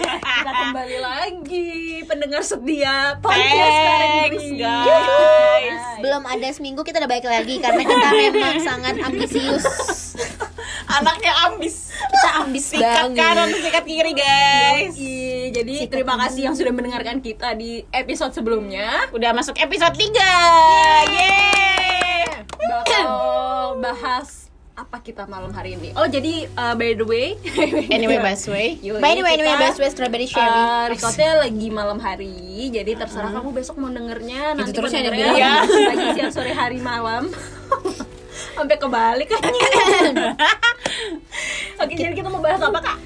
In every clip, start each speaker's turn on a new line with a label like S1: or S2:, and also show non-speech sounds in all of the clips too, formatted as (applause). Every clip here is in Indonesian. S1: Kita kembali lagi pendengar setia
S2: Thanks
S1: Inggris.
S2: guys.
S3: Belum ada seminggu kita udah baik lagi karena kita memang sangat ambisius.
S2: Anaknya ambis.
S3: Kita ambis
S2: Sikat kanan,
S3: banget.
S2: sikat kiri guys.
S1: Yoi, Iya, jadi terima kasih yang sudah mendengarkan kita di episode sebelumnya.
S2: Udah masuk episode 3. Yeay.
S1: Bakal bahas apa kita malam hari ini. Oh, jadi uh, by the way,
S2: Anyway,
S1: (laughs)
S2: Basway.
S1: Yoi,
S3: By the way, anyway,
S1: kita,
S3: best way strawberry cherry.
S1: Uh, recordnya lagi malam hari, jadi terserah kamu besok mau dengernya nanti
S3: terus yang
S1: pendengarnya
S2: dibilang.
S1: pagi siang sore hari malam (laughs) sampai kebalik kan Oke, jadi kita mau bahas apa kak?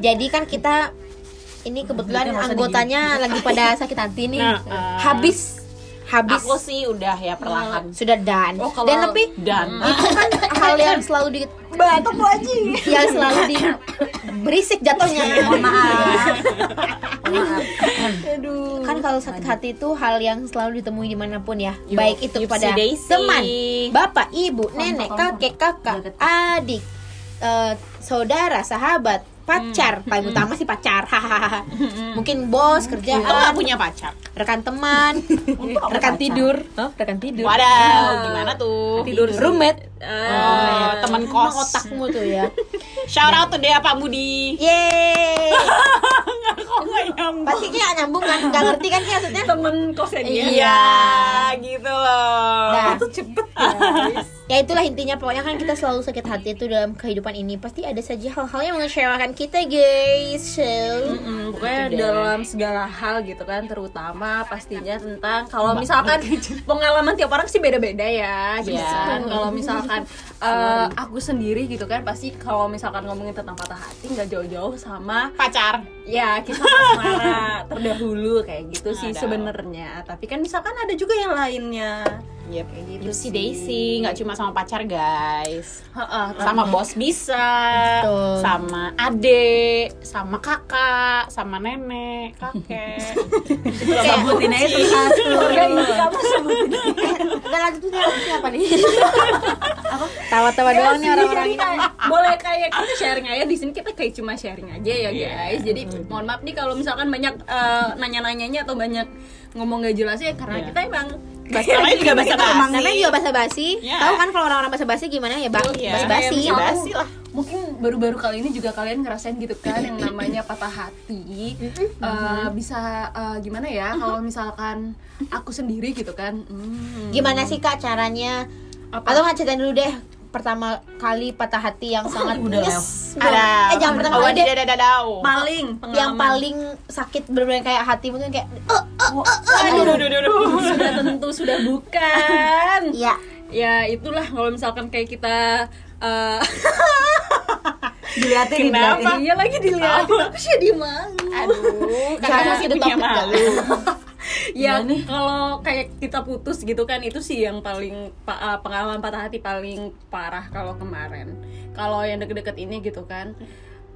S3: Jadi kan kita ini kebetulan anggotanya lagi pada sakit hati nih.
S2: Nah, eh.
S3: Habis habis
S2: Aku sih udah ya perlahan.
S3: sudah done.
S1: Oh, kalau-
S3: Dan lebih
S2: Dan
S3: itu kan hal yang selalu di
S1: Batuk lagi.
S3: yang selalu di berisik jatuhnya. Mohon maaf.
S1: (laughs) Aduh.
S3: kan kalau sakit hati itu hal yang selalu ditemui dimanapun ya
S2: Yup,
S3: baik itu
S2: yupsi
S3: pada
S2: daisy.
S3: teman bapak ibu nenek kakek kakak adik eh, saudara sahabat pacar paling utama sih pacar (laughs) hahaha mungkin bos
S2: Untung gak
S3: kerjaan
S2: punya pacar.
S3: rekan (laughs) teman rekan tidur rekan tidur
S2: Wadaw, gimana tuh?
S1: tidur Eh,
S3: roommate
S2: Oh, teman
S3: Emang
S2: kos.
S3: otakmu tuh ya
S2: Shout out to Dea Pak Budi.
S3: (laughs) yeay
S2: Kok gak nyambung?
S3: pasti kayak nyambung kan nggak ngerti kan kayak maksudnya
S1: temen kosnya dia.
S2: Iya, gitu loh.
S3: Nah,
S1: Itu cepet guys.
S3: ya itulah intinya pokoknya kan kita selalu sakit hati itu dalam kehidupan ini pasti ada saja hal-hal yang mengecewakan kita guys so
S1: Mm, pokoknya dalam segala hal gitu kan terutama pastinya tentang kalau misalkan pengalaman tiap orang sih beda-beda ya gitu
S2: Iya.
S1: kan kalau misalkan eh, aku sendiri gitu kan pasti kalau misalkan ngomongin tentang patah hati nggak jauh-jauh sama
S2: pacar.
S1: ya kisah asmara terdahulu kayak gitu sih
S2: Ada.
S1: sebenarnya tapi kan misalkan ada juga yang lainnya
S2: Yep.
S1: kayak gitu
S2: Gitu si
S1: sih.
S2: Daisy nggak cuma sama pacar guys,
S1: Heeh,
S2: sama bos bisa,
S3: Betul.
S2: sama adik, sama kakak, sama nenek, (laughs) kakek.
S1: sebutin aja satu (laughs) kamu sebutin
S3: udah lanjutnya lanjutnya apa (laughs) nih Iya, tawa-tawa doang nih orang-orang ini
S1: Iya boleh kayak kita sharing aja di sini kita kayak cuma sharing aja
S3: Iya.
S1: ya guys jadi mohon maaf nih kalau misalkan banyak eh, nanya-nanyanya atau banyak ngomong gak jelasnya karena
S2: Iya.
S1: kita emang
S3: (laughs)
S2: Bahasa lain juga Iya, bahasa
S3: Emang
S2: basi.
S3: namanya juga basa-basi
S1: Iya.
S2: Ya.
S3: tahu kan kalau orang-orang basa-basi gimana ya bang
S2: Iya.
S3: basi-basi
S2: Iya, basi lah.
S1: mungkin baru-baru kali ini juga kalian ngerasain gitu kan yang namanya patah hati Eh, bisa eh, gimana ya kalau misalkan aku sendiri gitu kan hmm,
S3: gimana sih kak caranya
S1: Apa?
S3: atau nggak ceritain dulu deh pertama kali patah hati yang sangat
S1: Oh, udah
S3: nyes eh
S2: Ada.
S3: jangan pertama kali deh
S2: dadadadau.
S1: paling
S3: yang
S1: pengalaman. (laughs)
S3: paling sakit bener-bener kayak hati mungkin kayak "Eh,
S2: Aduh, aduh, aduh, aduh.
S1: sudah tentu sudah bukan
S3: (laughs) iya
S1: ya itulah kalau misalkan kayak kita eh,
S4: diliatin
S2: Kenapa?
S1: Iya lagi dilihat. Aku sih di malu.
S2: (laughs) Aduh,
S3: Jangan
S2: kakak
S3: masih ada
S2: punya
S3: topik, Kak.
S2: malu.
S1: Ya kalau kayak kita putus gitu kan itu sih yang paling pa- eh, pengalaman patah hati paling parah kalau kemarin. Kalau yang deket-deket ini gitu kan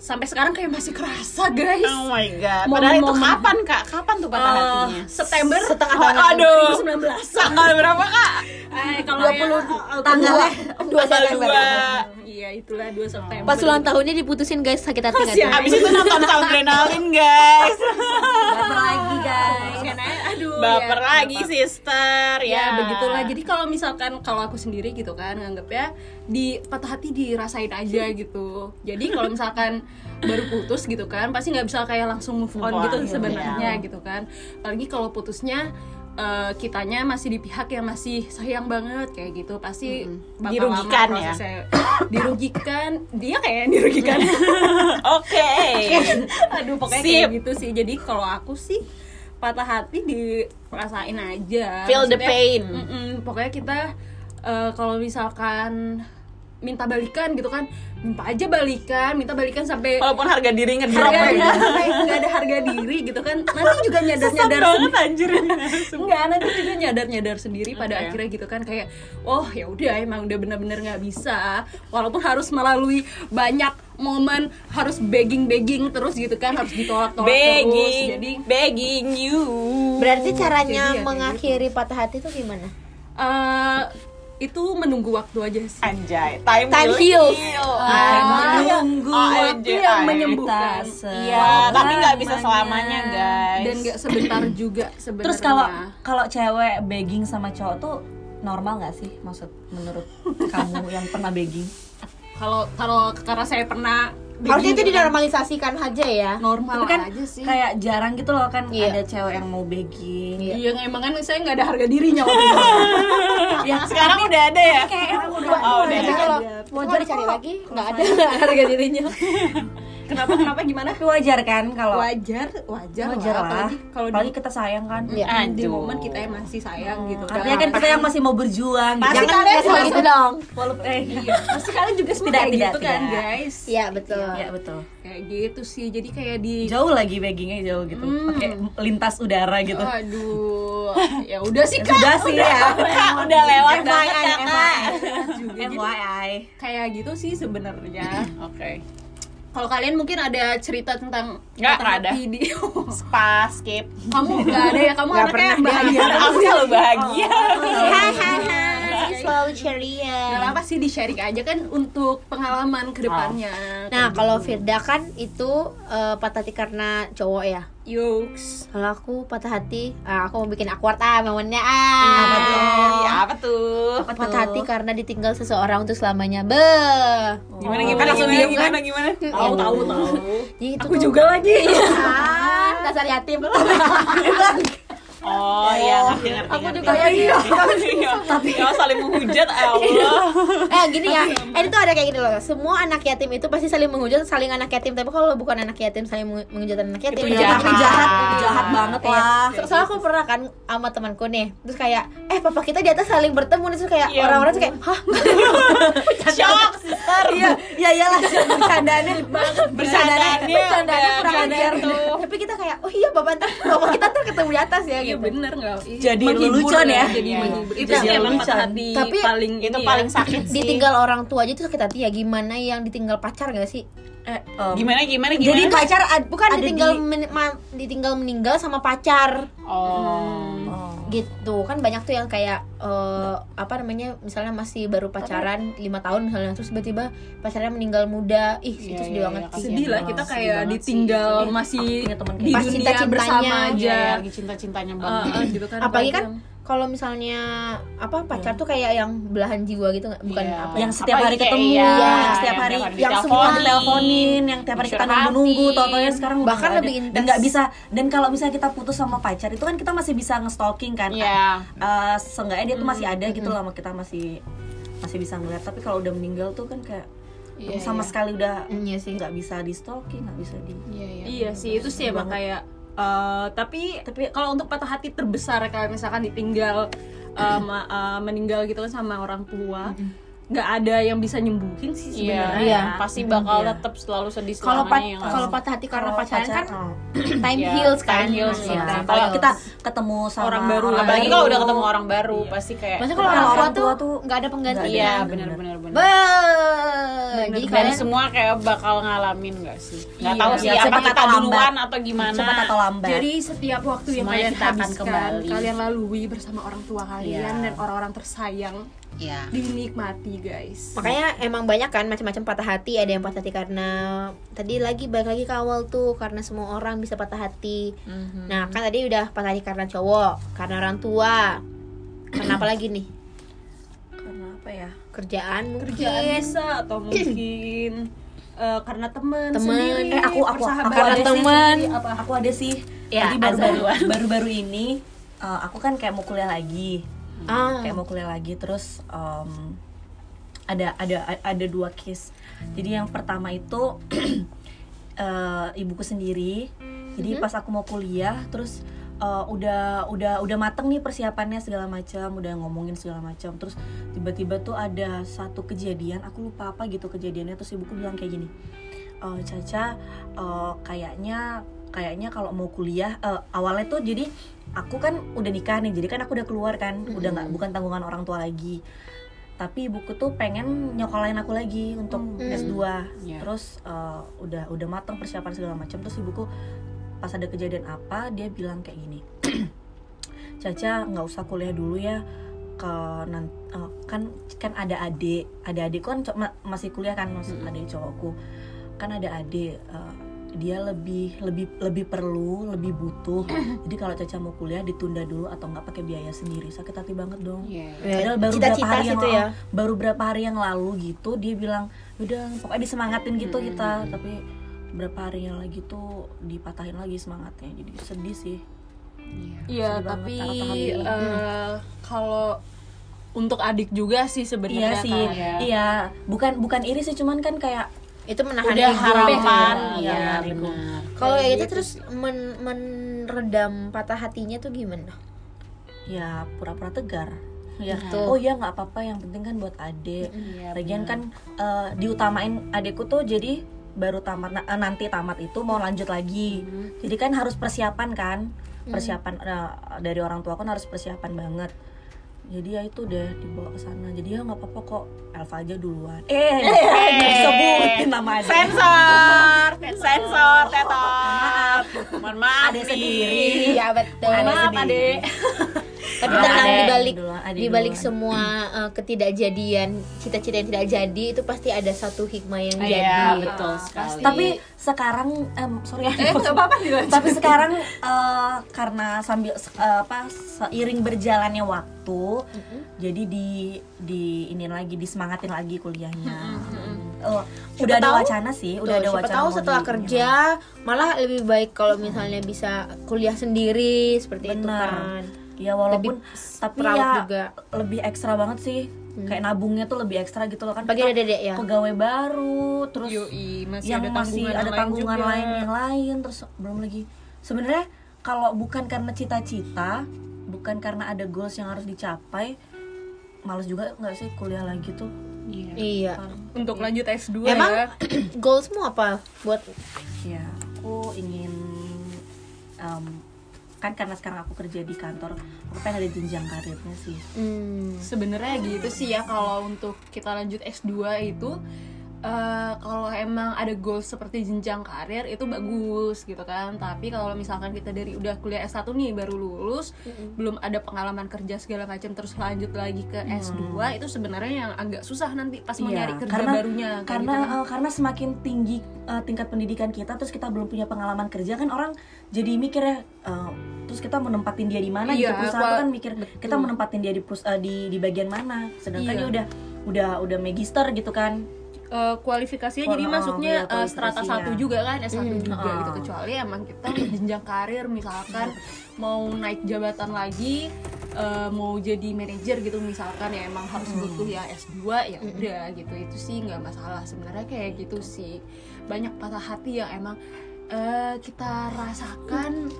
S1: sampai sekarang kayak masih kerasa guys. Eh,
S2: Oh my god.
S1: Momen-
S2: Padahal itu
S1: momen.
S2: kapan kak? Kapan tuh patah
S1: Eh,
S2: hatinya?
S1: September (laughs)
S3: Setengah
S1: tahun
S2: tahun. Aduh.
S1: 2019.
S2: Tanggal berapa kak?
S1: Eh, kalau
S3: 20 tanggalnya 2
S2: Tanggal
S3: September.
S2: dua.
S1: yang- iya itulah 2 September.
S3: Pas ulang tahunnya diputusin guys sakit hati
S1: Kasihan.
S3: enggak?
S2: Abis itu nonton sound adrenalin guys.
S1: baper lagi guys. Karena Kan, eh, aduh.
S2: Baper
S1: ya,
S2: lagi
S1: baper.
S2: sister ya.
S1: ya begitulah jadi kalau misalkan kalau aku sendiri gitu kan nganggapnya di patah hati dirasain aja gitu jadi kalau misalkan baru putus gitu kan pasti nggak bisa kayak langsung move on
S2: Move on,
S1: gitu
S2: iya.
S1: sebenarnya gitu kan apalagi kalau putusnya eh, kitanya masih di pihak yang masih sayang banget kayak gitu pasti bakal
S2: Dirugikan
S1: lama
S2: ya?
S1: prosesnya. dirugikan dia kayak yang dirugikan
S2: (laughs) Iya. Oke.
S1: (laughs) aduh pokoknya
S2: Sip.
S1: kayak gitu sih jadi kalau aku sih patah hati dirasain aja
S2: Feel the pain.
S1: mm-mm, pokoknya kita eh, kalau misalkan minta balikan gitu kan minta aja balikan minta balikan sampai
S2: Walaupun harga diri ngedrop
S1: harga-
S2: Oh, ya.
S1: sampai nggak ada harga diri gitu kan nanti juga nyadar
S2: Sesat
S1: nyadar
S2: banget
S1: (laughs)
S2: anjir ini.
S1: Enggak, nanti juga nyadar-nyadar sendiri pada
S2: Oke.
S1: akhirnya gitu kan kayak oh ya udah emang udah bener-bener nggak bisa walaupun harus melalui banyak momen harus begging-begging terus gitu kan harus ditolak-tolak terus
S2: Begging,
S1: jadi
S2: begging you.
S3: Berarti caranya
S1: Jadi ya,
S3: mengakhiri patah hati itu gimana?
S1: eh, itu menunggu waktu aja sih
S2: Anjay, time,
S3: Time
S2: will
S3: heals.
S2: heal.
S1: Time
S2: Ah,
S1: will heal.
S4: Menunggu
S2: Ah,
S1: waktu yang
S2: anjay.
S1: menyembuhkan
S4: Iya.
S2: Wah, tapi nggak bisa selamanya guys.
S1: dan nggak sebentar juga sebenarnya
S4: Terus kalau kalau cewek begging sama cowok tuh normal nggak sih? Maksud
S1: (laughs)
S4: menurut kamu yang pernah begging?
S1: kalau kalau karena saya pernah
S3: Harusnya itu dinormalisasikan aja ya.
S1: normal
S4: Tapi kan
S1: aja sih
S4: kayak jarang gitu loh kan
S3: Iya.
S4: ada cewek yang mau begging.
S1: Iya, emang kan saya nggak ada harga dirinya waktu itu. (laughs)
S4: Ya,
S2: Sekarang udah ada ya.
S4: Eh, kayak orang udah
S2: Oh, udah.
S3: Jadi kalau Iya, mau
S4: Wajar
S3: dicari
S4: kok.
S3: lagi nggak ada harga dirinya.
S1: kenapa kenapa gimana?
S4: Tapi wajar kan kalau
S1: Wajar, wajar,
S4: wajar
S1: lah.
S4: lah.
S1: Apalagi kalau di,
S4: Apalagi kita sayang kan.
S3: Iya.
S1: di
S2: Aduh.
S1: momen kita yang masih sayang gitu. kan.
S4: Artinya kan kita yang masih mau berjuang.
S3: Jangan
S4: Jangan
S3: jangan kayak gitu dong.
S4: walaupun eh,
S1: Iya.
S4: (laughs)
S1: pasti kalian juga semua
S4: Tidak,
S1: kayak
S4: tidak,
S1: gitu kan,
S4: tidak.
S1: guys.
S3: Iya betul.
S4: ya betul.
S1: Kayak gitu sih. Jadi kayak di
S4: Jauh lagi beggingnya jauh gitu.
S1: Hmm.
S4: Pakai lintas udara gitu.
S1: Oh.
S4: (laughs)
S1: Aduh, ya udah sih
S4: Ya,
S1: kak.
S4: sudah sih ya.
S2: Kak, udah lewat banget
S4: FYI,
S2: ya, Kak.
S1: (laughs)
S4: (laughs)
S1: Juga gitu.
S4: FYI.
S1: kayak gitu sih sebenarnya.
S2: Oke.
S1: Kalau kalian mungkin ada cerita tentang
S2: Nggak,
S1: tentang
S2: nggak ada.
S1: hati di-
S2: Spa skip.
S1: (laughs) kamu nggak ada ya? Kamu
S3: Nggak
S1: anaknya
S4: (laughs)
S3: pernah,
S1: bahagia.
S2: Aku selalu
S1: Oh,
S2: bahagia.
S3: Hai hai hai, selalu ceria.
S1: Gak apa sih di sharing aja kan untuk pengalaman kedepannya.
S3: Nah kalau Firda kan itu eh, patah hati karena cowok ya.
S1: Yokes.
S3: Kalau aku patah hati, ah, aku mau bikin awkward ah momennya
S2: Apa tuh?
S3: ah.
S2: Ya, apa tuh?
S4: Apa
S3: Patah
S4: tuh?
S3: hati karena ditinggal seseorang untuk selamanya. Be.
S2: Gimana gimana
S3: Oh,
S2: langsung
S3: kan?
S2: dia gimana gimana?
S1: Tahu tahu tahu.
S3: Jadi itu
S1: Aku
S3: tuh-
S1: juga lagi.
S3: (laughs) Ah, dasar yatim.
S2: Oh iya ngerti ngerti.
S3: Aku
S2: ngerti.
S3: juga iya.
S2: Tapi kalau saling menghujat ya Allah.
S3: eh gini ya eh, itu ada kayak gini loh semua anak yatim itu pasti saling menghujat saling anak yatim tapi kalau bukan anak yatim saling mengu- menghujat anak yatim ya itu
S2: Itu
S4: Iya, Tapi
S2: jahat.
S4: jahat, jahat banget
S3: Iya.
S4: lah.
S3: So- soalnya aku pernah kan sama temanku nih terus kayak eh papa kita di atas saling bertemu nih. terus kayak
S2: Ya
S3: orang-orang tuh kayak hah
S2: Shock sister.
S4: Iya, iya iyalah (laughs) bercandaannya
S2: Bercandaannya
S3: bercandaannya kurang
S2: bercanda
S3: ajar
S2: tuh.
S3: (laughs) tapi kita kayak oh iya bapak ntar bapak kita ntar ketemu di atas ya gitu
S1: Iya bener nggak? Iya,
S4: Jadi
S1: menghibur
S4: lelucon ya.
S1: Jadi
S2: Iya.
S1: menghibur. Itu
S4: Jadi
S1: sih emang
S4: lelucon.
S1: patah hati
S3: Tapi
S1: paling
S2: Itu
S1: ini
S2: paling
S1: ya.
S2: sakit sih.
S3: ditinggal orang tua aja itu sakit hati ya gimana yang ditinggal pacar gak sih
S2: Gimana gimana gimana?
S4: Eh, Jadi pacar ad-
S3: bukan
S4: Kan ada
S3: ditinggal
S4: di-
S3: men- ma- ditinggal meninggal sama pacar
S2: Oh.
S4: Oh.
S3: gitu kan banyak tuh yang kayak eh, apa namanya misalnya masih baru pacaran lima tahun misalnya terus tiba-tiba pacarnya meninggal muda ih
S2: Iya,
S3: itu sedih
S2: iya,
S3: banget
S2: iya,
S3: sih.
S1: sedih lah kita
S4: Sedih
S1: kayak
S4: banget sih.
S1: ditinggal
S4: Eh,
S1: masih
S4: aku punya temen kayak
S1: di
S3: gitu. Pas
S1: dunia
S3: cinta-cintanya.
S1: bersama
S2: Iya,
S1: aja.
S2: iya, lagi cinta-cintanya
S1: Eh,
S2: banget.
S1: eh, gitu kan.
S3: apalagi kan
S1: apalagi
S3: kalau misalnya apa pacar tuh kayak yang belahan jiwa gitu nggak bukan
S2: Iya.
S3: apa
S4: yang setiap hari
S2: Apalagi kayak
S4: ketemu,
S2: iya,
S4: yang setiap
S2: yang
S4: hari
S2: tiap hari
S4: yang semua
S2: diteleponin,
S4: Oh, diteleponin, yang tiap hari kita
S2: dicurhatin.
S4: nunggu-nunggu, totonya sekarang udah
S3: Bahkan
S4: nggak
S3: lebih
S4: ada. dan
S3: intens.
S4: nggak bisa. Dan kalau misalnya kita putus sama pacar itu kan kita masih bisa nge-stalking kan.
S2: Iya.
S4: Eh, seenggaknya dia tuh masih ada gitu loh, sama kita masih masih bisa ngeliat. Tapi kalau udah meninggal tuh kan kayak
S2: Iya,
S4: sama
S2: iya.
S4: sekali udah
S3: Mm, iya sih.
S4: nggak bisa di stalking, nggak bisa di
S2: Iya, iya.
S1: Iya sih itu sih emang
S4: banget.
S1: kayak eh, tapi
S4: Tapi-
S1: kalau untuk patah hati terbesar kayak misalkan ditinggal eh, ma- eh, meninggal gitu kan sama orang tua nggak ada yang bisa nyembuhin
S2: Iya,
S1: sih sebenarnya
S3: Iya.
S2: pasti bakal
S4: Iya.
S2: tetap selalu sedih
S3: kalau pat-
S2: selamanya ya nggak
S3: kalau
S2: sih?
S3: patah hati karena
S4: Kalau
S3: pacaran kan
S4: oh.
S3: time
S2: Iya,
S3: heals
S2: time
S3: kan
S2: heals,
S3: Iya,
S2: iya.
S3: time
S4: Kalau
S3: heals.
S4: kita ketemu sama
S1: Orang baru lah.
S2: apalagi
S1: baru.
S2: kalau udah ketemu orang baru pasti kayak
S3: maksudnya kalau orang tua tuh nggak ada pengganti
S4: nggak
S2: iya
S4: ada.
S2: benar-benar benar
S3: Be jadi
S1: Bener.
S2: dan
S3: kalian
S2: semua kayak bakal ngalamin gak sih nggak
S1: Iya.
S2: tahu sih
S4: Iya,
S2: apa
S4: cepat
S2: kita
S4: atau lambat.
S2: duluan atau gimana
S4: cepat atau lambat.
S1: Jadi setiap waktu yang
S2: Semuanya
S1: kalian
S2: kita akan
S1: habiskan,
S2: kembali.
S1: kalian lalui bersama orang tua kalian
S2: Iya.
S1: dan orang-orang tersayang
S2: Iya.
S1: dinikmati guys.
S3: Makanya emang banyak kan macam-macam patah hati, ada yang patah hati karena tadi lagi balik lagi ke awal tuh karena semua orang bisa patah hati.
S4: Mhm.
S3: Nah, kan tadi udah patah hati karena cowok, karena orang tua. Karena apa lagi nih?
S4: karena apa ya?
S3: Kerjaan mungkin.
S1: kerjaan bisa atau mungkin eh, karena teman
S3: Teman.
S1: sendiri
S4: Eh, aku- aku- aku
S1: persahabatan
S4: ada sih. Iya,
S1: teman
S4: apa aku ada sih
S3: Ya,
S4: jadi baru-baru baru-baru ini eh, aku kan kayak mau kuliah lagi
S3: Ah,
S4: kayak mau kuliah lagi terus em, ada ada a- ada dua case jadi yang pertama itu (clears throat) eh, ibuku sendiri jadi pas aku mau kuliah terus eh, udah udah udah mateng nih persiapannya segala macam udah ngomongin segala macam terus tiba-tiba tuh ada satu kejadian aku lupa apa gitu kejadiannya terus ibuku bilang kayak gini eh Caca eh, kayaknya kayaknya kalau mau kuliah eh, awalnya tuh jadi aku kan udah nikah nih jadi kan aku udah keluar kan udah nggak bukan tanggungan orang tua lagi tapi ibuku tuh pengen nyokolain aku lagi untuk
S3: Mm.
S4: S2
S2: Iya.
S4: terus eh, udah udah matang persiapan segala macam terus ibuku pas ada (clears throat) kejadian apa dia bilang kayak gini Caca nggak usah kuliah dulu ya ke nan- eh, kan kan ada adik ada adikku kan co- ma- masih kuliah kan maksud adik cowokku kan ada adik eh, dia lebih lebih lebih perlu lebih butuh jadi kalau Caca mau kuliah ditunda dulu atau nggak pakai biaya sendiri sakit hati banget dong
S2: Iya.
S4: Padahal Eh, baru
S3: Cita-cita
S4: berapa hari yang
S3: situ
S4: lalu,
S3: ya.
S4: baru berapa hari yang lalu gitu dia bilang udah pokoknya disemangatin gitu kita tapi berapa hari yang lagi tuh dipatahin lagi semangatnya jadi sedih sih
S1: (laughs) Iya,
S4: Sedih banget
S1: tapi
S4: tangan-tangan ini. Hmm.
S1: eh, kalau untuk adik juga sih
S4: iya
S1: sebenarnya
S4: sih
S1: kan.
S2: ya.
S1: (laughs)
S4: iya bukan bukan iri sih cuman kan kayak
S3: itu menahan
S2: Udah
S3: ego.
S2: harapan,
S4: Iya,
S2: iya
S4: iya.
S2: benar.
S3: Kalau kayak gitu terus men- meredam patah hatinya tuh gimana?
S4: ya pura-pura tegar ya
S3: Betul.
S4: oh ya nggak apa-apa yang penting kan buat adik
S2: Iya,
S4: lagian kan eh, diutamain adikku tuh jadi baru tamat na- eh, nanti tamat itu mau lanjut lagi jadi kan harus persiapan kan persiapan eh, dari orang tua kan harus persiapan banget jadi ya itu deh dibawa ke sana jadi ya nggak apa-apa kok Elva aja duluan eh disebutin nama adik
S2: sensor sensor tetap mohon maaf
S4: Ada
S2: nih.
S4: sendiri.
S3: Iya betul.
S4: Ada
S1: Maaf,
S4: sendiri.
S1: Adek.
S3: Tapi
S2: Ada
S3: tenang
S2: yang
S3: dibalik
S4: duluan, ada yang
S3: dibalik
S4: duluan.
S3: semua eh, ketidakjadian, cita-cita yang tidak jadi itu pasti ada satu hikmah yang
S2: Iya,
S3: jadi.
S2: betul sekali.
S4: tapi sekarang em, sorry
S1: Eh, nggak apa-apa dilanjut.
S4: tapi sekarang eh, karena sambil se- eh, apa seiring berjalannya waktu jadi di di ini lagi disemangatin lagi kuliahnya Eh, udah ada
S3: tahu-
S4: wacana sih
S3: Betul,
S4: udah ada
S3: siapa
S4: wacana
S3: tahu
S4: mau
S3: setelah
S4: di-
S3: kerja malah lebih baik kalau misalnya bisa kuliah sendiri seperti itu
S4: Benar.
S3: kan.
S4: ya walaupun tapi
S3: perawat
S4: ya
S3: juga.
S4: lebih ekstra banget sih kayak nabungnya tuh lebih ekstra gitu loh kan
S3: Bagi
S4: kita
S3: dedek ya.
S4: pegawai baru terus
S1: Yoi, masih
S4: yang
S1: ada
S4: masih
S1: tanggungan
S4: ada
S1: lain Iya.
S4: tanggungan
S1: juga.
S4: lain yang lain terus belum lagi sebenarnya kalau bukan karena cita-cita bukan karena ada goals yang harus dicapai males juga nggak sih kuliah lagi tuh
S2: Iya.
S3: Iya.
S1: untuk lanjut S2
S3: Emang
S1: ya.
S3: (clears throat) goalsmu apa buat
S4: ya aku ingin em, kan karena sekarang aku kerja di kantor aku pengen ada jenjang karirnya sih
S3: hmm,
S1: sebenarnya gitu sih ya kalau untuk kita lanjut S2 itu eh, kalau emang ada goals seperti jenjang karir itu bagus gitu kan tapi kalau misalkan kita dari udah kuliah S1 nih baru lulus belum ada pengalaman kerja segala macam terus lanjut lagi ke S2 itu sebenarnya yang agak susah nanti pas mau
S4: Mm. Iya,
S1: nyari kerja barunya kayak
S4: karena
S1: gitu kan.
S4: eh, karena semakin tinggi eh, tingkat pendidikan kita terus kita belum punya pengalaman kerja kan orang jadi mikir ya eh, terus kita menempatin dia di mana
S1: Iya,
S4: gitu perusahaan tuh
S1: gua-
S4: kan mikir kita menempatin dia di perus- eh, di di bagian mana sedangkan
S1: Iya.
S4: dia udah udah udah magister gitu kan
S1: Eh, kualifikasinya
S4: Kual-
S1: jadi
S4: oh,
S1: masuknya eh,
S4: iya,
S1: strata
S4: kualifikasinya.
S1: 1 juga kan S1 juga
S4: oh.
S1: gitu kecuali emang kita jenjang karir misalkan mau naik jabatan lagi eh, mau jadi manajer gitu misalkan ya emang harus
S4: Mm-hmm.
S1: butuh ya S2 ya udah gitu itu sih nggak masalah sebenarnya kayak gitu sih banyak patah hati yang emang eh, kita rasakan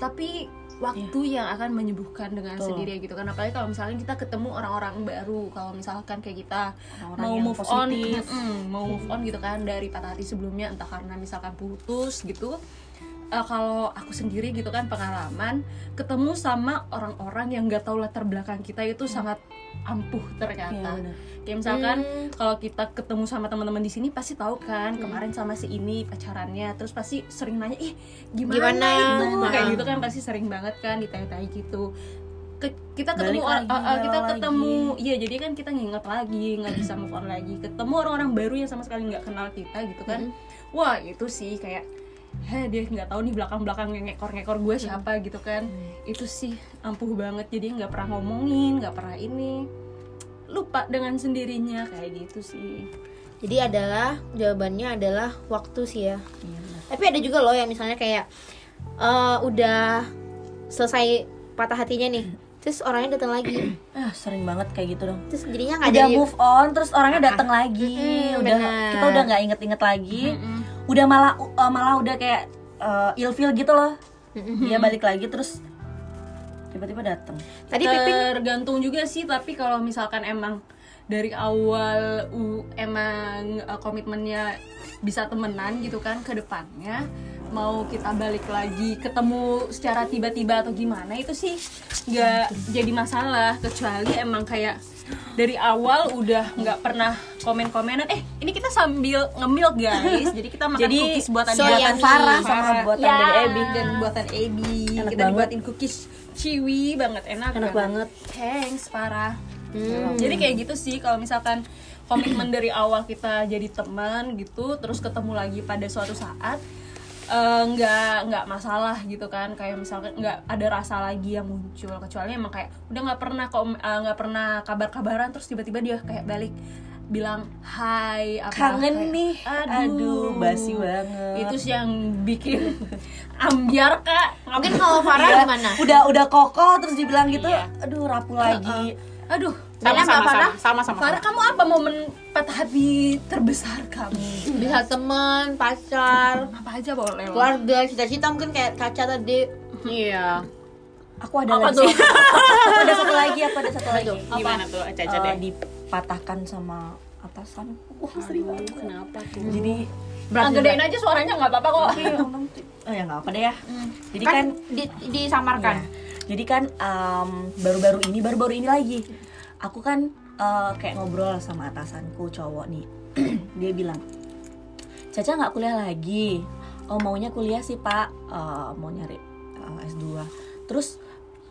S1: tapi waktu yang akan menyembuhkan dengan
S4: Iya. Betul.
S1: sendirinya gitu kan apalagi kalau misalkan kita ketemu orang-orang baru kalau misalkan kayak kita
S4: Orang-orang
S1: mau
S4: yang
S1: move
S4: positif.
S1: on mm, mau move on gitu kan dari patah hati sebelumnya entah karena misalkan putus gitu Eh, kalau aku sendiri gitu kan pengalaman ketemu sama orang-orang yang nggak tahu latar belakang kita itu sangat ampuh
S4: Hmm. Iya,
S1: ternyata
S4: benar.
S1: kayak misalkan
S3: hmm,
S1: kalau kita ketemu sama teman-teman di sini pasti tahu kan kemarin sama si ini pacarannya terus pasti sering nanya ih gimana,
S3: Gimana?
S1: itu kayak
S3: Nah.
S1: gitu kan pasti sering banget kan ditanya-tanya gitu Ke- kita ketemu
S4: Balik
S1: or-
S4: lagi,
S1: uh, uh, kita
S4: galau
S1: ketemu
S4: lagi.
S1: iya jadi kan kita nginget lagi nggak bisa move on lagi ketemu orang-orang baru yang sama sekali nggak kenal kita gitu kan
S3: hmm.
S1: wah itu sih kayak Heh, dia nggak tahu nih belakang-belakang yang ngekor-ngekor gue siapa gitu kan itu sih ampuh banget jadi nggak pernah ngomongin nggak pernah ini lupa dengan sendirinya kayak gitu sih
S3: jadi adalah jawabannya adalah waktu sih ya
S4: Iya, benar.
S3: tapi ada juga loh yang misalnya kayak eh, udah selesai patah hatinya nih terus orangnya datang lagi
S4: ah sering banget kayak gitu dong
S3: terus jadinya nggak
S4: udah
S3: Ah, jadi
S4: move on terus orangnya datang lagi
S3: Mm-mm,
S4: udah
S3: benar.
S4: kita udah nggak inget-inget lagi udah malah uh, malah udah kayak uh, ilfeel gitu loh dia balik lagi terus tiba-tiba datang
S3: tadi Piping
S1: tergantung juga sih tapi kalau misalkan emang dari awal u- emang eh, komitmennya bisa temenan gitu kan ke depannya mau kita balik lagi ketemu secara tiba-tiba atau gimana itu sih nggak jadi masalah kecuali emang kayak dari awal udah nggak pernah komen-komenan eh ini kita sambil ngemil guys jadi kita makan
S4: Jadi,
S1: cookies buatan
S3: so
S1: buatan
S3: yummy.
S1: Farah Ya.
S4: Sama buatan dari Abby.
S1: dan buatan Abby
S4: Enak
S1: kita
S4: banget.
S1: dibuatin cookies ciwi banget enak,
S4: Enak banget.
S1: thanks parah
S3: Hmm.
S1: jadi kayak gitu sih kalau misalkan komitmen dari awal kita jadi teman gitu terus ketemu lagi pada suatu saat eh, nggak nggak masalah gitu kan kayak misalkan nggak ada rasa lagi yang muncul kecuali emang kayak udah nggak pernah kom- eh, nggak pernah kabar-kabaran terus tiba-tiba dia kayak balik bilang hai apa
S4: Kangen
S1: kayak,
S4: nih.
S1: aduh,
S4: Aduh, basi banget.
S1: itu sih yang bikin (laughs) ambiar kak
S3: Mungkin kalau Farah
S4: Iya,
S3: gimana?
S4: Udah udah kokoh terus dibilang gitu, aduh rapuh lagi.
S1: aduh
S3: Bella sama Farah?
S2: sama sama
S1: Farah kamu apa momen patah hati terbesar kamu
S3: Bisa teman, pacar,
S1: apa aja boleh lah.
S3: keluarga, cita-cita mungkin kayak kaca tadi.
S2: iya
S4: Aku ada
S1: Apa
S4: lagi.
S1: tuh?
S4: (laughs) aku ada satu lagi, aku ada satu lagi.
S2: gimana tuh caca
S4: Eh,
S2: deh
S4: dipatahkan sama atasan. Wah, sering
S1: Aduh,
S4: banget.
S1: kenapa tuh
S4: Jadi
S1: Ah, gedein aja suaranya nggak apa-apa kok
S4: Oke, yang penting. (laughs) Oh ya nggak apa deh ya. Jadi kan,
S3: Kan, di- disamarkan.
S4: Iya. Jadi kan em, baru-baru ini, baru-baru ini lagi, aku kan eh, kayak ngobrol sama atasanku cowok nih. (clears throat) Dia bilang, Caca nggak kuliah lagi. Oh maunya kuliah sih Pak, Eh, mau nyari eh, S2. Terus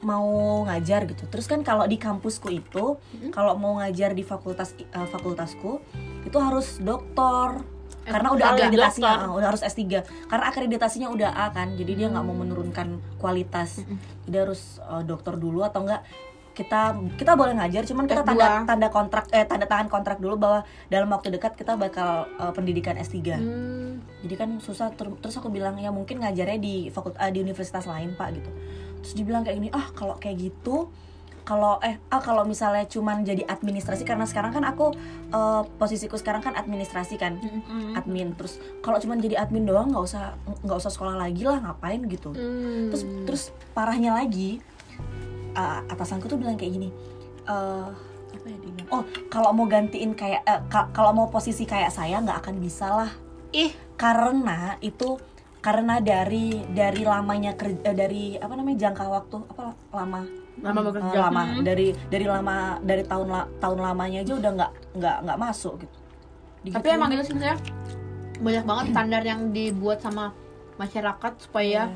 S4: mau ngajar gitu. Terus kan kalau di kampusku itu, kalau mau ngajar di fakultas eh, fakultasku itu harus doktor karena udah
S3: dokter,
S4: akreditasinya
S3: dokter.
S4: ah, udah harus S3 karena akreditasinya udah A kan jadi dia nggak mau menurunkan kualitas jadi harus eh, dokter dulu atau enggak kita kita boleh ngajar cuman
S3: S2.
S4: kita tanda tanda kontrak eh tanda tangan kontrak dulu bahwa dalam waktu dekat kita bakal eh, pendidikan S3
S3: Hmm.
S4: jadi kan susah ter- terus aku bilang ya mungkin ngajarnya di fakult ah, di universitas lain pak gitu terus dibilang kayak gini ah kalau kayak gitu kalau eh ah kalau misalnya cuman jadi administrasi karena sekarang kan aku eh, posisiku sekarang kan administrasi kan
S1: Hmm.
S4: admin terus kalau cuman jadi admin doang nggak usah nggak usah sekolah lagi lah ngapain gitu
S3: Hmm.
S4: terus terus parahnya lagi eh, atasanku tuh bilang kayak gini eh apa ya dia bilang? oh kalau mau gantiin kayak eh, ka- kalau mau posisi kayak saya nggak akan bisa lah
S3: Ih.
S4: karena itu karena dari dari lamanya kerja dari apa namanya jangka waktu apa lama
S2: lama
S4: Eh, lama
S3: Hmm.
S4: dari dari lama dari tahun la- tahun lamanya aja udah nggak nggak nggak masuk gitu
S3: Tapi
S4: Digituin.
S3: emang gitu itu sebenarnya banyak banget standar yang dibuat sama masyarakat supaya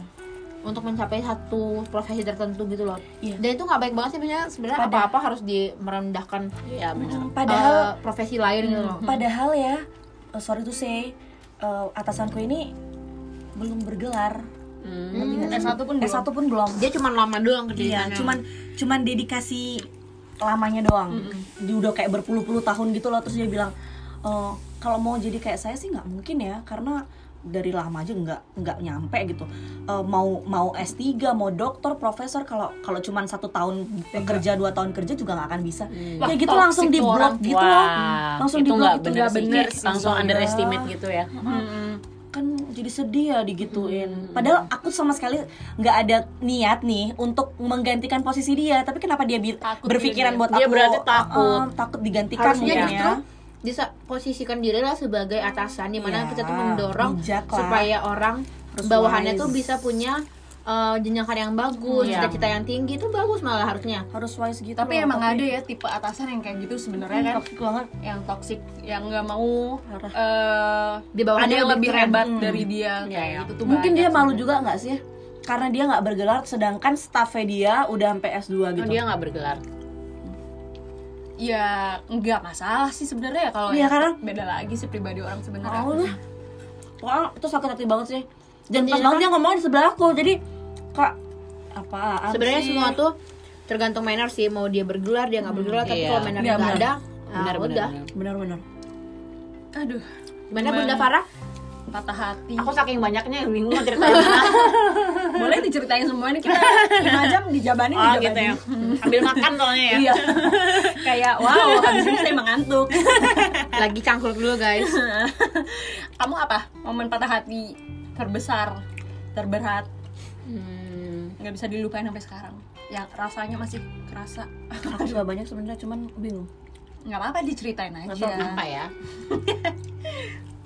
S3: untuk mencapai satu profesi tertentu gitu loh.
S4: Iya.
S3: Dan itu nggak baik banget sih sebenarnya sebenarnya
S4: Padahal-
S3: apa-apa harus di merendahkan
S2: iya benar
S4: padahal
S3: eh, profesi lain gitu loh.
S1: Hmm.
S4: Padahal ya, uh, sorry to say, uh, atasanku ini belum bergelar.
S1: Hmm, S1 pun
S4: S1 pun belum.
S3: Dia cuma lama doang
S4: Iya,
S2: kan.
S3: kerjanya.
S4: cuman cuman dedikasi lamanya doang. Dia udah kayak berpuluh-puluh tahun gitu loh terus dia bilang, "Eh, kalau mau jadi kayak saya sih nggak mungkin ya karena dari lama aja nggak nggak nyampe gitu Eh, mau mau S3 mau dokter profesor kalau kalau cuman satu tahun kerja dua tahun kerja juga nggak akan bisa
S2: Hmm.
S1: Wah,
S4: kayak gitu langsung
S1: toxic
S4: di
S1: tuh orang.
S4: blok gitu loh
S2: Wah,
S4: langsung
S2: itu
S4: di blok
S2: nggak
S4: gitu
S2: bener,
S1: nggak bener
S2: sih.
S1: sih,
S2: langsung
S4: soalnya.
S2: underestimate gitu ya
S4: kan jadi sedih ya digituin padahal aku sama sekali nggak ada niat nih untuk menggantikan posisi dia tapi kenapa dia bi-
S1: Takut
S4: berpikiran
S1: dia-
S4: buat
S2: dia
S4: aku
S2: berarti
S4: eh,
S2: takut.
S4: eh, takut digantikan
S3: harusnya
S4: mungkin ya.
S3: justru bisa posisikan diri lah sebagai atasan dimana
S4: Iya,
S3: kita tuh mendorong
S4: bijak lah.
S3: supaya orang
S4: Harus
S3: bawahannya
S4: wise.
S3: tuh bisa punya eh, jenjang yang bagus,
S2: Iya.
S3: cita-cita yang tinggi itu bagus malah harusnya.
S4: harus wise gitu
S1: tapi
S4: loh, Hmm,
S1: emang ada ya tipe atasan yang kayak gitu sebenarnya kan
S4: toxic banget
S1: yang toksik yang nggak mau
S4: Parah.
S1: eh,
S3: Di bawahnya
S1: ada yang
S3: lebih
S1: lebih
S3: keren.
S1: hebat
S4: Hmm.
S1: dari dia
S2: Iya,
S1: kayak
S2: iya.
S1: gitu tuh
S4: mungkin
S1: banyak
S4: dia malu
S1: sebenarnya.
S4: juga nggak sih karena dia nggak bergelar sedangkan staffnya dia udah sampai S2
S2: Oh,
S4: gitu
S2: dia nggak bergelar
S1: ya nggak masalah sih sebenarnya ya kalau
S4: Iya,
S1: yang
S4: karena-
S1: beda lagi sih pribadi orang sebenarnya
S4: mau lah pokoknya itu sakit hati banget sih
S3: Jadi
S4: dan pas
S3: kan-
S4: banget dia ngomongin di sebelah aku jadi kak apaan
S3: Sebenarnya
S4: sih?
S3: semua tuh tergantung manner sih mau dia bergelar dia nggak bergelar tapi
S2: iya.
S3: kalau manner
S4: Iya,
S3: nggak
S4: benar.
S3: ada nah,
S2: benar
S3: udah.
S2: benar benar.
S4: (laughs) benar-benar
S1: aduh
S3: Gimana
S1: Cuman-
S3: Bunda Farah?
S1: patah hati
S2: aku saking banyaknya yang bingung mau ceritain mana.
S1: boleh diceritain semuanya
S4: (laughs)
S1: kita 5 jam dijabanin
S4: Iya.
S2: oh
S1: dijabanin.
S2: gitu ya ambil makan soalnya ya
S1: iya kayak wow habis ini saya mengantuk
S3: Lagi cangkul dulu guys.
S1: kamu apa momen patah hati terbesar terberat
S2: Hmm.
S1: nggak bisa dilupain sampai sekarang yang rasanya masih kerasa
S4: (laughs)
S1: Ah,
S4: aku juga banyak sebenarnya cuman bingung
S1: nggak apa-apa diceritain
S2: Atau
S1: aja
S2: apa ya? (laughs)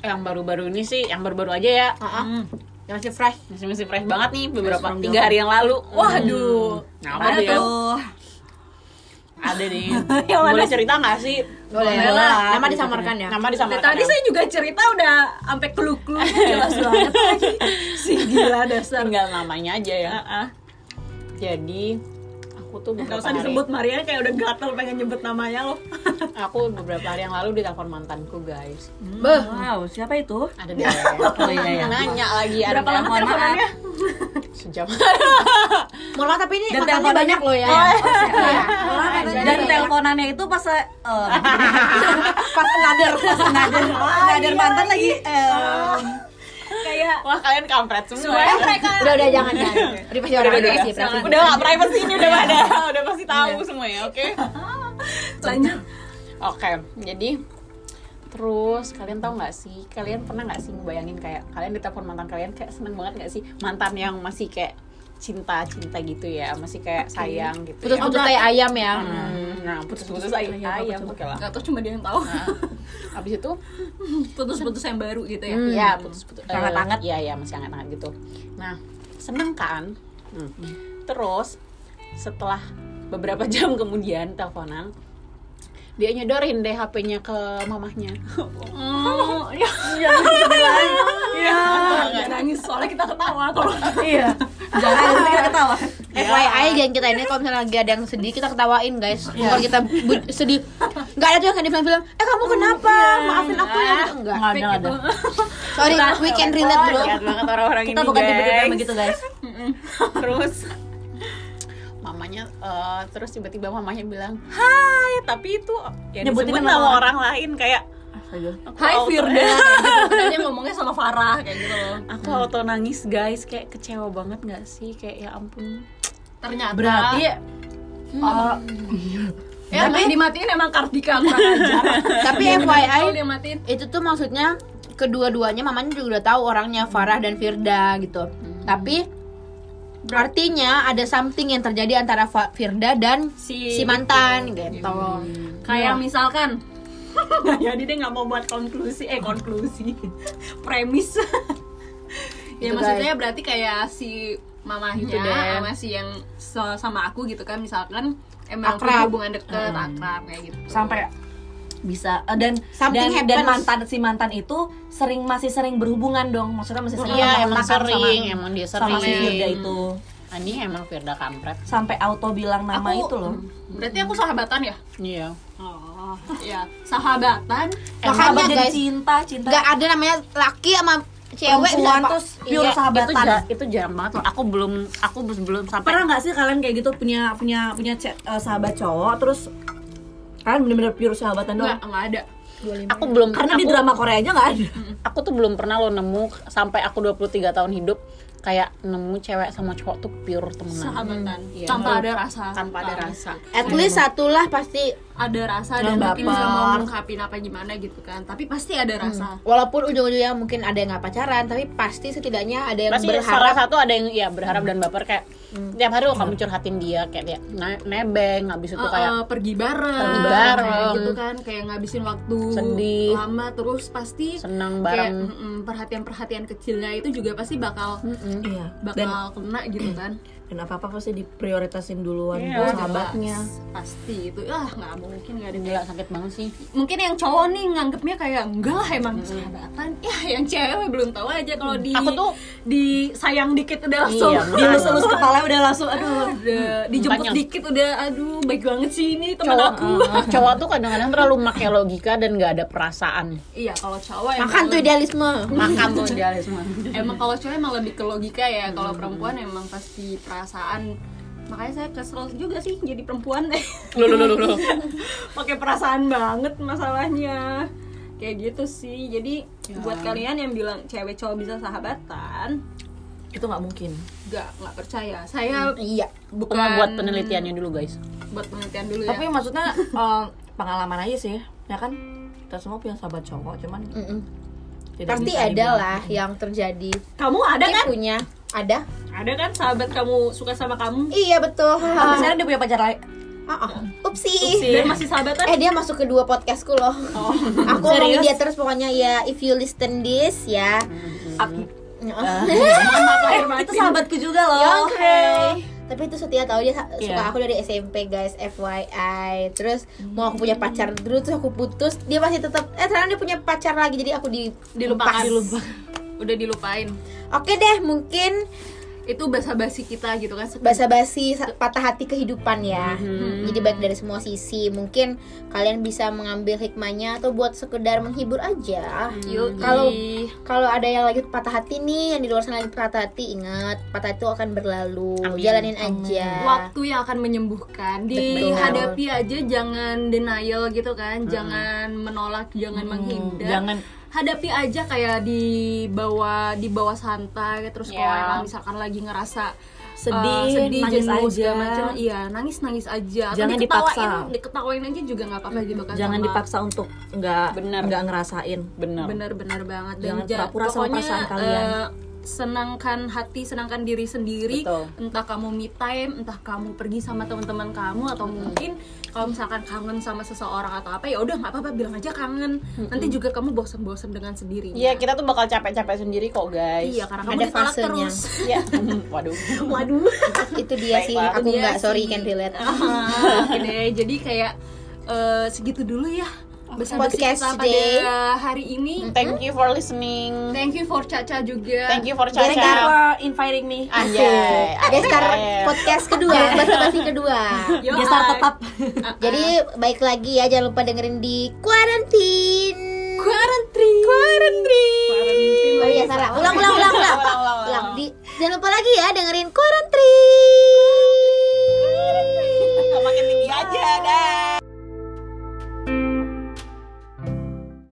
S2: yang baru-baru ini sih, yang baru-baru aja ya.
S3: Ah, ah.
S1: Hmm.
S2: Yang masih fresh, masih masih fresh banget nih beberapa
S4: from
S2: tiga hari yang lalu.
S1: waduh
S2: Nah, apa
S1: Mana
S2: tuh ya?
S4: tuh
S2: Hmm. Ada nih.
S4: Yang mana?
S2: Boleh cerita nggak sih?
S3: Boleh.
S1: Boleh
S3: lah.
S4: lah.
S3: Nama disamarkan ya.
S2: Nama
S1: Dari
S2: disamarkan.
S1: tadi
S2: ya?
S1: saya juga cerita udah sampai kelu-kelu jelas banget lagi si gila dasar
S2: tinggal namanya aja ya.
S1: Ah, ah.
S2: jadi aku tuh
S1: Gak
S2: beberapa
S1: usah
S2: hari
S1: disebut Maria kayak udah gatel pengen nyebut namanya loh.
S2: aku beberapa hari yang lalu ditelepon mantanku guys
S4: Wow, siapa itu?
S2: ada di oh,
S4: iya, iya.
S2: nanya lagi ada
S1: Berapa lama
S2: telepon, maaf.
S1: teleponannya?
S2: sejam (laughs)
S3: Mohon maaf tapi ini
S1: Dan
S3: makannya
S1: teleponnya-
S3: banyak loh ya. Iya.
S1: Dan
S4: Dan
S1: tel-
S4: teleponannya itu pas eh,
S3: Pas ngader, pas ngader.
S4: ngader mantan lagi. Eh.
S1: kayak
S2: wah kalian kampret semua ya.
S3: Udah udah jangan jangan. Privasi orang
S2: udah,
S3: privasi,
S2: udah.
S3: privasi.
S2: udah nggak privacy ini udah ada udah pasti tahu semua ya oke
S1: lanjut.
S2: oke jadi terus kalian tahu nggak sih kalian pernah nggak sih ngebayangin kayak kalian ditelepon mantan kalian kayak seneng banget nggak sih mantan yang masih kayak cinta cinta gitu ya masih kayak sayang gitu ya.
S3: Putus-putus kayak ayam ya.
S2: Hmm, nah putus-putus ayam ayam oke lah
S1: Gak tau cuma dia yang tahu.
S2: abis itu
S1: (laughs) Putus-putus yang baru gitu ya.
S4: Iya,
S3: Hmm.
S2: ya putus-putus eh,
S4: Hangat-hangat.
S2: iya iya masih hangat-hangat gitu nah seneng kan Hmm. terus setelah beberapa (laughs) jam kemudian teleponan dia nyedorin deh HP-nya ke (laughs) mamahnya
S1: Oh, ya. Jangan nangis soalnya kita ketawa kalau
S4: Iya. Jangan nanti kita ketawa.
S3: FYI geng kita ini kalau misalnya lagi ada yang sedih kita ketawain guys. Kalau kita bu- sedih, nggak ada tuh yang kayak di film-film. Eh kamu kenapa? Maafin aku ya. Enggak.
S4: Enggak ada, ada.
S3: Sorry, we can relate bro.
S2: (laughs) Jahat Oh, iya, banget orang-orang
S4: Kita bukan tipe-tipe yang
S2: guys. (laughs)
S4: begitu, guys.
S2: terus mamanya eh, terus tiba-tiba mamanya bilang hai tapi itu ya
S4: Nyebutin
S2: disebut nama
S4: nama orang.
S2: orang lain kayak
S1: (laughs)
S2: aku
S1: Hai
S2: auto-
S1: Firda. Kayak gitu. Dia ngomongnya sama Farah kayak gitu loh.
S2: aku auto nangis guys kayak kecewa banget nggak sih kayak ya ampun
S1: Ternyata
S4: Berarti eh,
S1: ya emang dimatiin emang Kartika kurang (laughs) ajar.
S3: Tapi
S1: Kalau
S3: FYI
S1: dia matiin
S3: itu tuh maksudnya kedua-duanya mamanya juga udah tahu orangnya Farah dan Firda gitu. Tapi artinya ada something yang terjadi antara Fa- Firda dan
S1: si,
S3: si mantan gitu.
S1: kayak misalkan Nggak jadi deh nggak mau buat konklusi eh konklusi (laughs) premis ya
S3: Gitu,
S1: maksudnya berarti kayak si mamahnya
S3: Gitu deh.
S1: sama si yang so- sama aku gitu kan misalkan emang
S3: Akrab.
S1: punya hubungan deket akrab kayak gitu
S4: sampai bisa eh, dan
S3: Something
S4: dan, dan
S3: happens.
S4: mantan si mantan itu sering masih sering berhubungan dong maksudnya masih sering
S2: Iya, emang
S4: kontak-kontakan
S2: sering,
S4: sama,
S2: emang dia
S4: sama si
S2: sering.
S4: Firda itu
S2: Ah, ini emang Firda kampret
S4: sampai auto bilang nama
S1: Aku- Hmm.
S4: itu loh
S1: berarti aku sahabatan ya
S2: iya
S1: oh ya sahabatan
S4: Emang
S3: Makanya,
S4: jadi
S3: guys,
S4: cinta cinta
S3: nggak ada namanya laki sama cewek
S4: perempuan
S3: bisa-
S4: terus pure
S2: Iya, itu,
S4: sahabatan
S2: ja- itu jarang banget loh aku belum aku belum sampai
S4: pernah nggak sih kalian kayak gitu punya punya punya ce- eh, sahabat cowok terus kalian bener-bener pure sahabatan doang
S1: nggak nggak ada
S2: aku belum
S4: karena di
S2: aku-
S4: drama Korea aja nggak ada
S2: aku tuh belum pernah lo nemu sampai aku 23 tahun hidup kayak nemu cewek sama cowok tuh pure temenan
S1: sahabatan
S2: Iya.
S1: tanpa ada rasa
S2: tanpa ada rasa
S3: At least satulah pasti
S1: ada rasa dan
S4: Jangan
S1: mungkin bisa
S4: baper.
S1: mau ngungkapin apa gimana gitu kan tapi pasti ada rasa
S3: walaupun ujung-ujungnya mungkin ada yang nggak pacaran tapi pasti setidaknya ada yang
S2: pasti salah
S3: berharap
S2: satu ada yang ya berharap dan baper kayak tiap hari lo kamu curhatin dia kayak dia ne- nebeng habis itu
S1: Eh,
S2: Gitu, kayak
S1: eh, pergi bareng,
S2: Pergi bareng.
S1: kayak gitu kan kayak ngabisin waktu
S2: Sedih.
S1: lama terus pasti
S2: senang
S1: kayak
S2: bareng
S1: mm, perhatian-perhatian kecilnya itu juga pasti bakal
S4: iya dan
S1: bakal kena gitu
S2: (clears throat)
S1: kan
S4: dan apa apa pasti diprioritasin duluan
S2: Iya, jelas.
S4: buat sahabatnya
S1: pasti itu ah nggak mungkin nggak ada yang-
S2: gila sakit banget sih
S1: mungkin yang cowok nih nganggepnya kayak enggak lah emang sahabatan ya yang cewek belum tahu aja kalau di
S2: Aku tuh-
S1: disayang dikit udah langsung
S2: Iya,
S4: dilus-lus kepala udah langsung aduh
S1: (laughs) udah
S2: Makanya.
S1: dijemput dikit udah aduh baik banget sih ini teman
S2: cowok
S1: aku
S2: (laughs) cowok tuh kadang-kadang terlalu pakai logika dan nggak ada perasaan
S1: iya kalau cowok emang
S3: makan tuh
S1: lebih-
S3: idealisme
S2: makan tuh idealisme
S1: emang kalau cowok emang lebih ke logika ya kalau perempuan emang pasti perasaan makanya saya kesel juga sih jadi perempuan
S2: lu lu lu lu
S1: (laughs) pakai perasaan banget masalahnya kayak gitu sih jadi buat kalian yang bilang cewek cowok bisa sahabatan
S4: itu nggak mungkin
S1: nggak nggak percaya saya
S3: iya
S1: bukan
S2: cuma buat penelitiannya dulu guys
S1: buat penelitian dulu
S4: tapi
S1: ya
S4: maksudnya em, pengalaman aja sih ya kan kita semua punya sahabat cowok cuman tidak
S3: pasti ada
S4: bisa dibilang.
S3: lah yang terjadi
S1: kamu ada
S3: Mungkin
S1: kan
S3: punya ada
S1: ada kan sahabat kamu suka sama kamu
S3: iya betul
S4: tapi
S3: Ah,
S4: sekarang dia punya pacar lain
S3: ah.
S1: Terus
S3: upsi
S1: dia masih kan? Oh. sahabatan
S3: eh dia masuk ke dua podcastku loh aku ngomongin dia terus pokoknya ya if you listen this ya
S1: Ah.
S3: Ah.
S4: Eh, itu sahabatku juga loh
S3: Ya, oke. Tapi itu setia tahu dia suka
S4: Iya.
S3: aku dari SMP guys, FYI. Terus mau aku punya pacar dulu terus aku putus, dia masih tetap eh sekarang dia punya pacar lagi jadi aku di
S1: dilupakan
S3: lepas.
S1: udah dilupain
S3: Oke deh, mungkin
S1: itu bahasa basi kita gitu kan Sek-
S3: basa-basi sa- patah hati kehidupan ya.
S2: Mhm.
S3: Jadi baik dari semua sisi. Mungkin kalian bisa mengambil hikmahnya atau buat sekedar menghibur aja.
S1: Yoi.
S3: Kalau- Kalau ada yang lagi patah hati nih, yang di luar sana lagi patah hati, ingat patah itu akan berlalu.
S2: Amin.
S3: Jalanin
S2: Amin.
S3: aja.
S1: waktu yang akan menyembuhkan
S3: Betul.
S1: dihadapi aja jangan denial gitu kan jangan menolak jangan menghindar
S4: Hmm. jangan
S1: hadapi aja kayak di bawah di bawah santai terus kalau
S2: Ya.
S1: emang misalkan lagi ngerasa eh,
S4: sedih,
S1: sedih
S4: nangis
S1: jenuh
S4: aja.
S1: segala macam iya nangis nangis aja Atau
S4: Jangan
S1: diketawain-
S4: dipaksa.
S1: diketawain aja juga nggak apa-apa gitu kan
S4: Jangan
S1: sama-
S4: dipaksa untuk nggak
S2: Benar.
S4: nggak ngerasain.
S2: bener
S1: benar-benar banget dan
S4: Jangan
S1: ja-
S4: pura-pura sama
S1: pokoknya
S4: perasaan kalian.
S1: eh, senangkan hati senangkan diri sendiri
S2: Betul.
S1: entah kamu me time entah kamu pergi sama teman-teman kamu atau mungkin kalau misalkan kangen sama seseorang atau apa ya udah nggak apa-apa bilang aja kangen nanti juga kamu bosan-bosan dengan sendirinya
S2: Iya kita tuh bakal capek-capek sendiri kok guys
S1: Iya, karena kamu
S3: Ada
S1: ditolak
S3: fasenya.
S1: terus.
S2: Iya. (laughs) Waduh
S1: Waduh.
S3: (laughs) itu dia sih.
S2: Baiklah.
S3: Aku
S1: Dia
S3: nggak
S1: sih.
S3: sorry can relate.
S1: Ah, Oke deh, jadi kayak eh, segitu dulu ya bersama
S3: Podcast
S1: kita
S3: today.
S1: pada hari ini.
S4: Hmm?
S2: Thank you for listening
S1: Thank you for Caca juga.
S2: Thank you for
S4: Thank you
S2: Caca
S4: for inviting me.
S2: Anjay
S3: Gestar
S2: anjay.
S3: podcast kedua, basa-basi kedua.
S1: Yo,
S4: Gestar
S1: ah,
S4: tetap.
S3: Jadi baik lagi ya jangan lupa dengerin di quarantine.
S1: Quarantine.
S3: Oh iya Sarah, ulang ulang ulang ulang.
S2: Ulang, ulang, ulang.
S3: Ulang di jangan lupa lagi ya dengerin quarantine.
S2: Makin tinggi aja dah